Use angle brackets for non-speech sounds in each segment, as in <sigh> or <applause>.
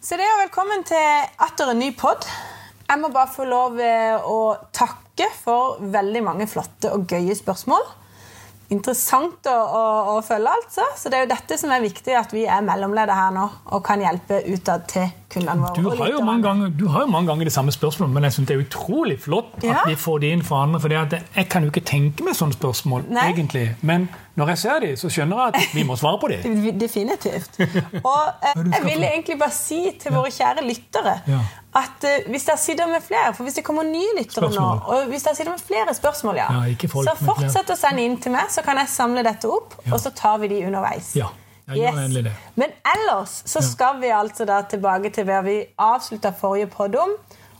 Så det er velkommen til atter en ny pod. Jeg må bare få lov eh, å takke for veldig mange flotte og gøye spørsmål. Interessant å, å, å følge, altså. Så det er jo dette som er viktig, at vi er mellomledere her nå og kan hjelpe utad til kundene våre. Du og har, jo lytterne. mange ganger, du har jo mange ganger det samme spørsmålet, men jeg synes det er utrolig flott at Ja. vi får det inn fra andre. For jeg kan jo ikke tenke meg sånne spørsmål, Nei. egentlig. Men når jeg ser de, så skjønner jeg at vi må svare på de. <laughs> <laughs> Definitivt. Og eh, Men du skal jeg vil få- egentlig bare si til våre kjære lyttere Ja. at eh, hvis dere sitter med flere For hvis det kommer nye lyttere nå, Spørsmål. og hvis dere sitter med flere spørsmål, ja, Ja, ikke folk, så men flere. fortsett å sende inn til meg, så kan jeg samle dette opp, og så tar vi de underveis. Ja, jeg gjør Yes. endelig det. Men ellers så skal vi altså da tilbake til hva vi avslutta forrige podd om,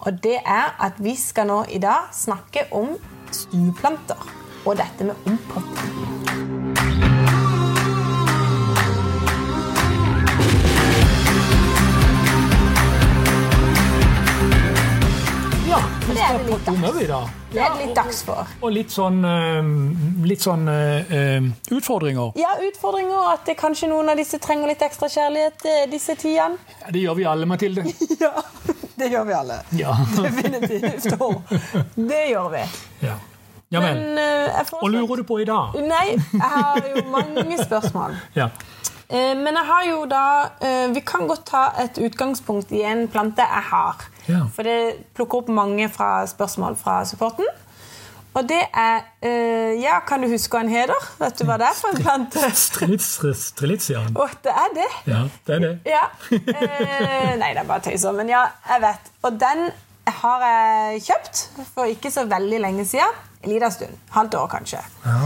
og det er at vi skal nå i dag snakke om stueplanter og dette med ompotting. Ja, det vi er skal det litt prate om over i dag. Det er det litt dags for. Og litt sånn, eh, litt sånn eh, eh, utfordringer. Ja, utfordringer, at det kanskje noen av disse trenger litt ekstra kjærlighet eh, disse tidene. Ja, Det gjør vi alle, Mathilde. <laughs> Ja, det gjør vi alle. Ja. <laughs> Definitivt. Det gjør vi. Ja, ja vel. Men eh, jeg Og får lurer du på i <laughs> dag? Nei, jeg har jo mange spørsmål. Ja. Eh, Men jeg har jo da eh, Vi kan godt ta et utgangspunkt i en plante jeg har. Ja. For det plukker opp mange fra spørsmål fra supporten. Og det er eh, Ja, kan du huske hva den heter? Vet du hva det er for en plante? Strelitsian. Å, det er det. Ja, det er det. Ja. Eh, nei, det er bare tøyser. Men ja, jeg vet. Og den har jeg kjøpt for ikke så veldig lenge siden. En liten stund. Halvt år, kanskje. Ja.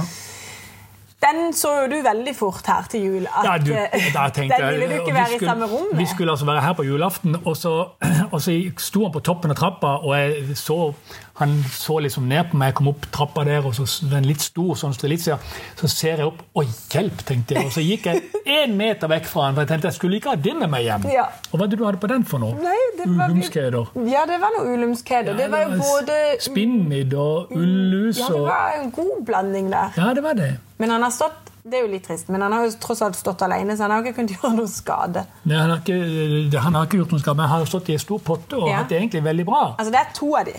Den så jo du veldig fort her til jul. At Ja, du, eh, <laughs> da tenkte den ville du jeg, og ikke vi være i skulle- samme rom Vi med. skulle altså være her på julaften, og så, <clears throat> og så sto han på toppen av trappa, og jeg så, han så liksom ned på meg, jeg kom opp trappa der, og så s- den litt stor sånn strelitzia, så ser jeg opp, og hjelp, tenkte jeg, og så <laughs> gikk jeg en meter vekk fra han, for jeg tenkte jeg skulle ikke ha det med meg hjem. Ja. Og hva er det du hadde på den for noe? Nei, det var vi- Uhumskeder. Ja, det var noe ulumskheder. det var jo både Mm, Spinnmidd og ullus Ja, det og... var en god blanding der. Ja, det var det. Men han har stått Det er jo litt trist, men han har jo tross alt stått alene, så han har jo ikke kunnet <laughs> gjøre noe skade. Nei, han, har ikke, han har ikke gjort noe skade, men han har stått i en stor potte og Ja. hatt det egentlig veldig bra. Altså, det er to av de.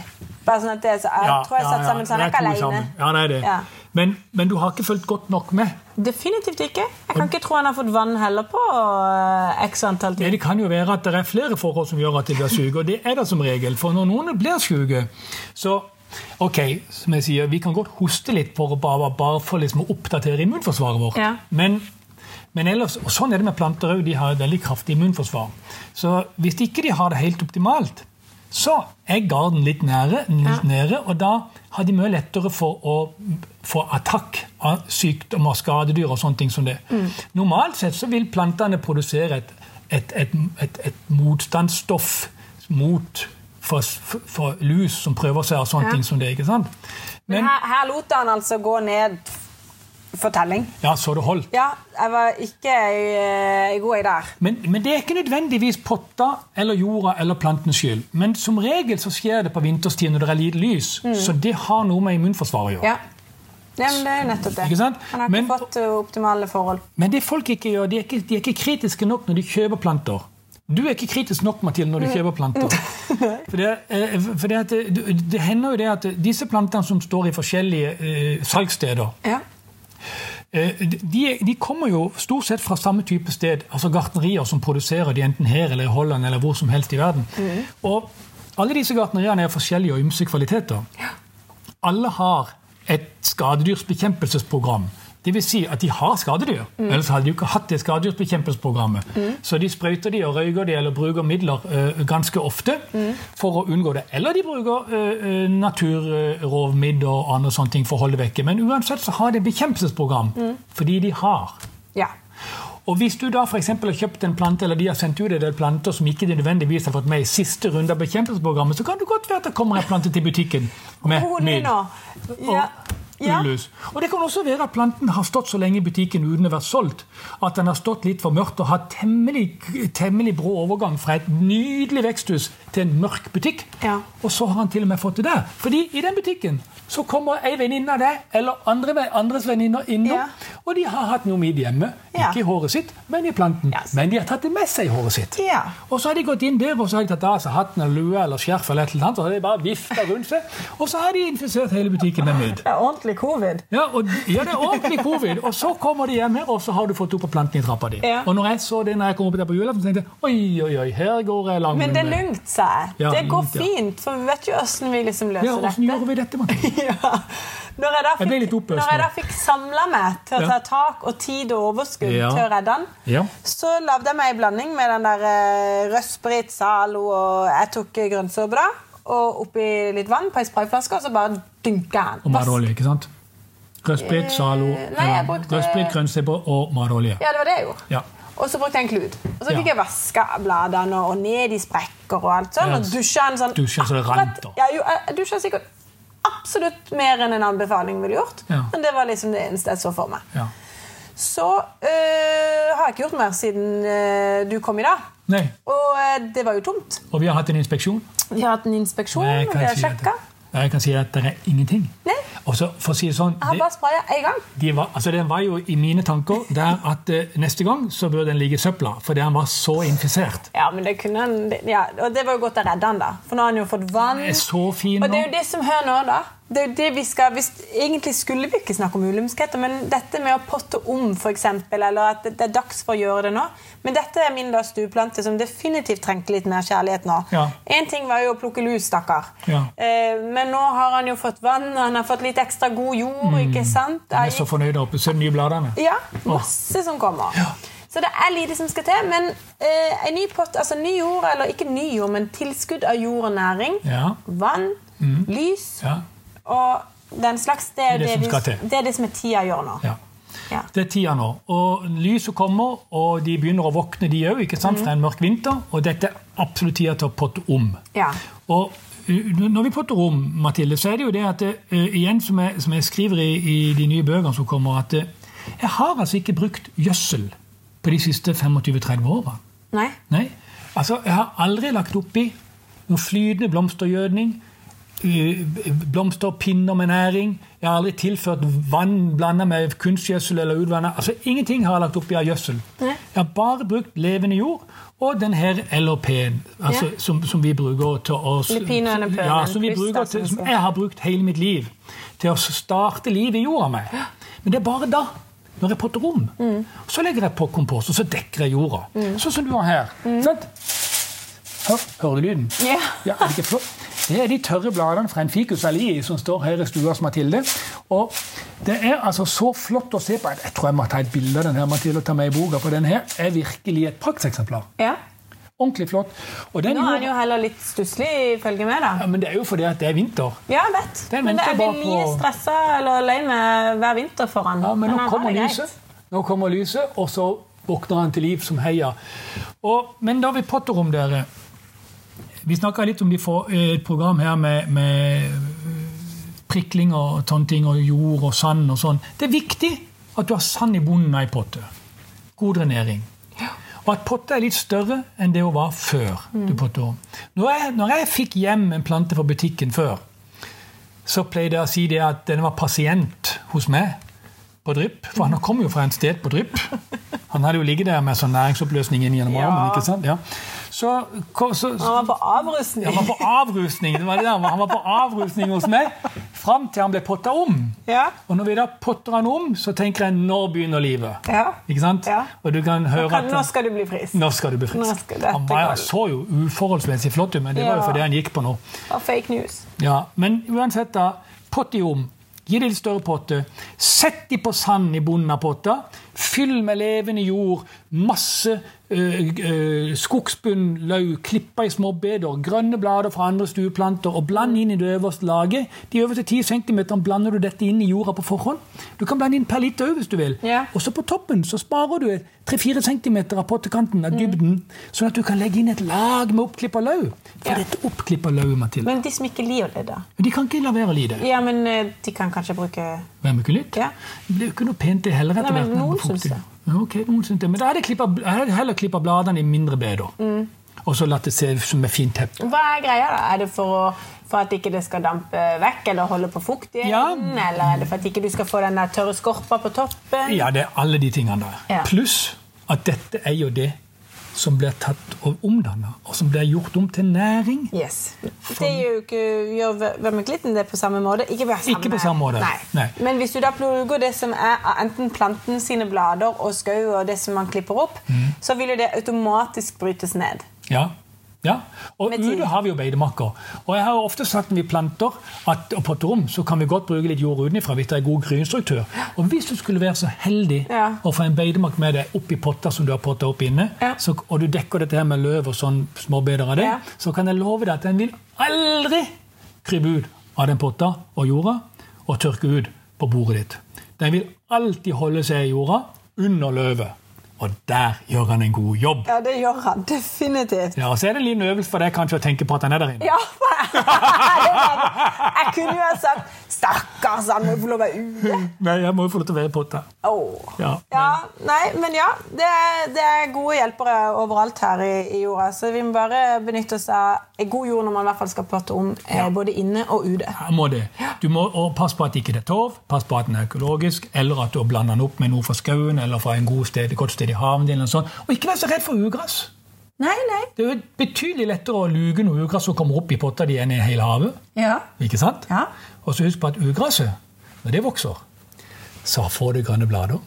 Bare sånn at det, er så jeg tror jeg er satt sammen, så han er det ikke to alene. sammen. Ja, det er det. Ja. Men, men du har ikke fulgt godt nok med. Definitivt ikke. Jeg kan ikke tro han har fått vann heller på øh, x antall Men timer. Det kan jo være at det er flere forhold som gjør at de blir syke, og det er det som regel. For når noen blir syke, så Ok, som jeg sier, vi kan godt hoste litt for å bare, bare for liksom å oppdatere immunforsvaret vårt. Ja. Men, men ellers, og sånn er det med planter òg, de har et veldig kraftig immunforsvar. Så hvis ikke de har det helt optimalt, så er garden litt nære, litt nære og da har de mye lettere for å få attakk av sykdommer, skadedyr og sånne ting som det. Normalt sett så vil plantene produsere et, et, et, et, et motstandsstoff mot for, for, for lus som prøver seg og sånne ting som det. ikke sant? Men Her, her lot han altså gå ned for telling. ja, så det holdt. Ja, jeg var ikke øh, god i der. Men, men det er ikke nødvendigvis potta eller jorda eller plantens skyld. Men som regel så skjer det på vinterstid når det er lite lys, så det har noe med immunforsvaret å gjøre. Ja. ja, men det er jo nettopp det. Ikke sant? Han har ikke Men- fått øh, optimale forhold. Men det folk ikke gjør, de er ikke, de er ikke kritiske nok når de kjøper planter. Du er ikke kritisk nok Mathilde, når du kjøper planter. For det, eh, for det, at, det, det hender jo det at disse plantene som står i forskjellige eh, salgssteder, Ja. Eh, de, de kommer jo stort sett fra samme type sted, altså gartnerier som produserer de enten her eller i Holland eller hvor som helst i verden. Og alle disse gartneriene er forskjellige og ymse kvaliteter. Alle har et skadedyrsbekjempelsesprogram. Det vil si at de har skadedyr, ellers hadde de jo ikke hatt det skadedyrsbekjempelsesprogrammet. Så de sprøyter de og røyker de eller bruker midler eh, ganske ofte for å unngå det. Eller de bruker uh, naturrovmiddel og andre sånne ting for å holde det vekke. Men uansett så har de bekjempelsesprogram, fordi de har. ja. Og hvis du da for eksempel har kjøpt en plante, eller de har sendt ut en del planter som ikke de nødvendigvis har fått med i siste runde av bekjempelsesprogrammet, så kan det godt være at det kommer en plante til butikken med Hun midd nå. Ja. og ja. ullus. Og det kan også være at planten har stått så lenge i butikken uten å være solgt, at den har stått litt for mørkt og hatt temmelig, temmelig brå overgang fra et nydelig veksthus til en mørk butikk. Ja. Og så har han til og med fått det der. Fordi i den butikken så kommer ei venninne av deg, eller andre, ve- andres venninner innom, Ja. Og de har hatt noe midd hjemme. Ja. Ikke i håret sitt, men i planten. Yes. Men de har tatt det med seg i håret sitt. Ja. Og så har de gått inn der og så har de tatt av seg hatten eller lua eller skjerf eller et eller annet, og så har de bare vifta rundt seg. Og så har de infisert hele butikken med midd. Det er ordentlig covid. Ja, og, ja, det er ordentlig covid. Og så kommer de hjem her, og så har du fått opp på planten i trappa di. Ja. Og når jeg så det når jeg kom opp der på julaften, tenkte jeg oi, oi, oi, her går jeg lang Men det er runde. lugnt, sa jeg. Ja, det går lugnt, ja. fint, for vi vet jo hvordan vi liksom Ja, løser åssen gjorde dette. vi dette, Mathilde? Ja. <laughs> Når jeg da Jeg ble litt fikk, oppøst når jeg da nå. fikk samla meg til å Ja. ta tak og tid og overskudd Ja. til å redde den, Ja. så lagde jeg meg en blanding med den der eh, rødsprit, Zalo og Jeg tok grønnsåpe, da. Og oppi litt vann på ei sprayflaske, og så bare dynka jeg Og den. matolje, ikke sant? Rødsprit, Zalo Eh, nei, jeg brukte- Rødsprit, grønnsipper og matolje. Ja, det var det jeg gjorde. Ja. Og så brukte jeg en klut. Og så Ja. fikk jeg vaska bladene og ned i sprekker og alt sånn. Ja. Og dusja en sånn Dusja så det akkurat- rant, da. Ja, jo, jeg dusja sikkert absolutt mer enn en anbefaling ville gjort. Ja. Men det var liksom det eneste jeg så for meg. Ja. Så øh, har jeg ikke gjort mer siden øh, du kom i dag. Nei, Og øh, det var jo tomt. og vi har hatt en inspeksjon. Vi har hatt en inspeksjon, Jeg og kan vi har si at- sjekka. Jeg kan si at det er ingenting. Nei. Og så, for å si det sånn, Jeg har det, bare spraya én gang. de var, altså den var jo i mine tanker der at eh, neste gang så bør den ligge i søpla, fordi den var så infisert. Ja, men det kunne han det- ja, Og det var jo godt jeg redda han, da. For nå har han jo fått vann. Den er så fin Og det nå. er jo det som hører nå, da. Det er jo det vi skal, hvis, egentlig skulle vi ikke snakke om ulemskheter, men dette med å potte om, f.eks., eller at det, det er dags for å gjøre det nå Men dette er min da stueplante som definitivt trengte litt mer kjærlighet nå. Ja. Én ting var jo å plukke lus, stakkar. Ja. Eh, men nå har han jo fått vann, og han har fått litt ekstra god jord, ikke sant? Jeg Mm. er så fornøyd der oppe. Se de nye bladene. Ja, masse som kommer. Ja. Så det er lite som skal til, men eh, en ny pott, altså ny jord, eller ikke ny jord, men tilskudd av jord og næring, Ja. Mm. vann, lys Ja. og den slags, det er Det er det det, som skal vi- til. det, er det som er tida gjør nå. ja. Ja. Det er tida nå, og lyset kommer, og de begynner å våkne de òg, ikke Mm. sant, fra en mørk vinter. Og dette er absolutt tida til å potte om. Ja. Og uh, når vi potter om, Mathilde, så er det jo det at uh, igjen, som jeg, som jeg skriver i, i de nye bøkene som kommer, at uh, jeg har altså ikke brukt gjødsel på de siste 25-30 åra. Nei? Nei. Altså, jeg har aldri lagt oppi noe flytende blomstergjødning. eh, Blomster og pinner med næring. Jeg har aldri tilført vann blanda med kunstgjødsel eller utvannet. Altså, ingenting har jeg lagt oppi av gjødsel. Nei. Jeg har bare brukt levende jord og den her LRP-en altså, Ja. som, som vi bruker til å Lupina eller pølen, ja, som, vi krysta, bruker som til, det som står. jeg har brukt hele mitt liv til å starte livet i jorda med. Men det er bare da. Når jeg potter om. Mm. Så legger jeg på kompost, og så dekker jeg jorda. Sånn som du har her. Mm. Sant? Hør, hører du lyden? Ja. Ja, er det ikke flott? Det er de tørre bladene fra en ficus alii som står her i stua hos Mathilde. Og det er altså så flott å se på. Jeg tror jeg må ta et bilde av den her, Mathilde, og ta med i boka, for den her er virkelig et prakteksemplar. Ja. Ordentlig flott. Og den Nå er jorda- han jo heller litt stusslig, ifølge meg, da. ja, men det er jo fordi at det er vinter. Ja, jeg vet. Den Men det venter er blir bare mye på- stressa eller lei meg hver vinter for han. Ja, men nå han har kommer det greit. lyset. Nå kommer lyset, og så våkner han til liv som heia. Og, men da vi potter om dere Vi snakka litt om de få, eh, et program her med, med eh, prikling og tonting og jord og sand og sånn. Det er viktig at du har sand i bunnen av ei potte. God drenering. Og at potta er litt større enn det hun var før. du potter om. Når jeg, når jeg fikk hjem en plante fra butikken før, så pleide jeg å si det at den var pasient hos meg på drypp. For han kom jo fra en sted på drypp. Han hadde jo ligget der med sånn næringsoppløsning inn gjennom Ja. armen. ikke sant? Ja. Så, ko- så, så Han var på avrusning. han var på avrusning det var det der. han var. Han var på avrusning hos meg fram til han ble potta om. Ja. Og når vi da potter han om, så tenker jeg 'når begynner livet'? Ja. Ikke sant? Ja. Og du kan høre Kan, at nå skal du bli frisk. nå skal du bli Nå frisk. skal dette Han var, gå. så jo uforholdsmessig flott ut, men det var jo Ja. fordi han gikk på noe. Og fake news. Ja, men uansett da, pott i om. Gi det litt større potte. Sett de på sand i bunnen av potta. Fyll med levende jord, masse øh, øh, skogsbunn, løv, klippa i små beder, grønne blader fra andre stueplanter, og bland inn i det øverste laget. De øverste 10 cm blander du dette inn i jorda på forhånd. Du kan blande inn per liter òg, hvis du vil. Ja. Og så på toppen så sparer du 3-4 cm av pottekanten av dybden, sånn at du kan legge inn et lag med oppklippa løv. For Mm. Ja. dette oppklippa løvet, Mathilde Men de som ikke liker det, da? men de kan ikke la være å lide. Ja, men eh, de kan kanskje bruke Vermekulitt. Ja. Det blir jo ikke noe pent det heller. etter Nei, men hvert når noen det er fuktig. syns det. Mm. Ja, ok, noen syns det. Men da hadde jeg klippet- jeg hadde heller klippa bladene i mindre beder. og så latt det se ut som et fint teppe. Hva er greia, da? Er det for, å, for at ikke det skal dampe vekk eller holde på fukt igjen? Ja. Eller er det for at ikke du skal få den der tørre skorpa på toppen? Ja, det er alle de tingene der. Ja. Pluss at dette er jo det som blir tatt og omdanna, og som blir gjort om til næring. Yes. Det gjør jo ikke gjør vermeklitten det på samme måte. Ikke på samme, Ikke på samme måte. Nei. Nei. Men hvis du da plukker det som er av enten planten sine blader og skau og det som man klipper opp, Mm. så vil jo det automatisk brytes ned. Ja. ja. Og Med tid. ute har vi jo beitemakker. Og jeg har jo ofte sagt når vi planter at og på et rom så kan vi godt bruke litt jord utenfra hvis det er god grynstruktør. Og hvis du skulle være så heldig Ja. å få en beitemakk med deg oppi potter som du har potta opp inne, Ja. så, og du dekker dette her med løv og sånn småbeder av det, Ja. så kan jeg love deg at den vil aldri krype ut av den potta og jorda og tørke ut på bordet ditt. Den vil alltid holde seg i jorda under løvet. Og der gjør han en god jobb. Ja, det gjør han definitivt. Ja, og så er det en liten øvelse for deg kanskje å tenke på at han er der inne. Ja, <laughs> det var det. Jeg kunne jo ha sagt 'stakkars, han må jo få lov å være ute'. Nei, jeg må jo få lov til å være i potta. Åh. Ja, Ja, nei, men ja. Det er, det er gode hjelpere overalt her i, i jorda. Så vi må bare benytte oss av en god jord når man i hvert fall skal plotte om eh, både inne og ute. Jeg må det. Du må og pass på at ikke det er torv, pass på at den er økologisk, eller at du har blandet den opp med noe fra skauen eller fra en god sted, et godt sted i haven din. eller sånn. Og ikke vær så redd for ugress. Nei, nei. Det er jo betydelig lettere å luke noe ugress som kommer opp i potta di enn i hele havet. Ja. Ikke sant? Ja. Og så husk på at ugresset, når det vokser, så får det grønne blader.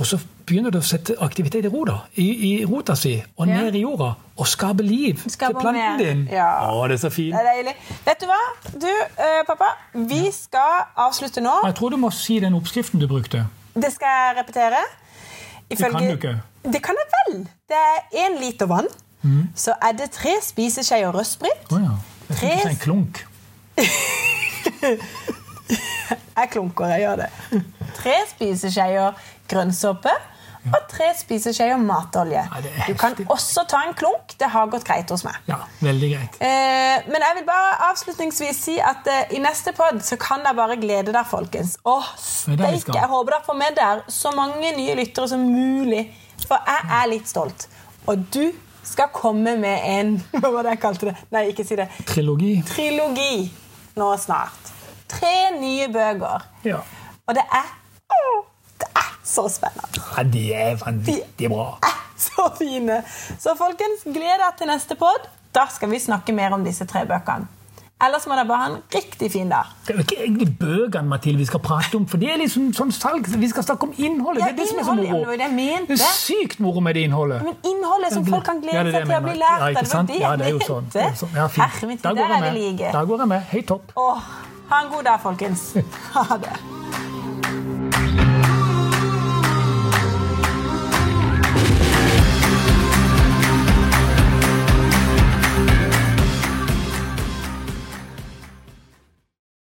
Og så begynner det å sette aktivitet i rota, i, i rota si og Ja. ned i jorda. Og skape liv Skape til planten mer. din. Ja. Å, det er så Det fint. er deilig. Vet du hva? Du, eh, pappa, vi skal avslutte nå. Jeg tror du må si den oppskriften du brukte. Det skal jeg repetere. kan du ikke. Det kan jeg vel. Det er én liter vann. Mm. Så er det tre spiseskjeer røstsprit. Å ja. Jeg skulle Tres- si en klunk. Jeg klunker, jeg gjør det. <laughs> Tre spiseskjeer grønnsåpe og tre spiseskjeer matolje. Ja, det er Du kan heftig. også ta en klunk. Det har gått greit hos meg. Ja, veldig greit. Eh, men jeg vil bare avslutningsvis si at eh, i neste pod så kan dere bare glede dere, folkens. Åh, Det er det steik, vi skal. jeg håper dere får med der så mange nye lyttere som mulig. For jeg er litt stolt. Og du skal komme med en <laughs> Hva var det jeg kalte det? Nei, ikke si det. Trilogi. Trilogi nå snart. Tre nye bøker. Ja. Og det er Åh, Det er så spennende. ja de er vanvittig bra. Det er Så fine. Så folkens, gled dere til neste pod. Da skal vi snakke mer om disse tre bøkene. Ellers må dere bare ha en riktig fin dag. Det er jo ikke egentlig bøkene Mathilde, vi skal prate om, for det er liksom sånn salg. Vi skal snakke om innholdet. Ja, det er det som er så innholdet, ja, moro. det var det jeg mente. Det er sykt moro med det innholdet. Men innholdet som folk kan glede Ja, det er det seg til jeg å bli mener. lært ja, av, ikke sant? det Ja, var det det er jo jeg sånn. mente. Det er sånn. Ja, fint. Herre min tid, Da der går jeg er det med. like. Da går jeg med. Høyt opp. Åh, ha en god dag, folkens. Ha det.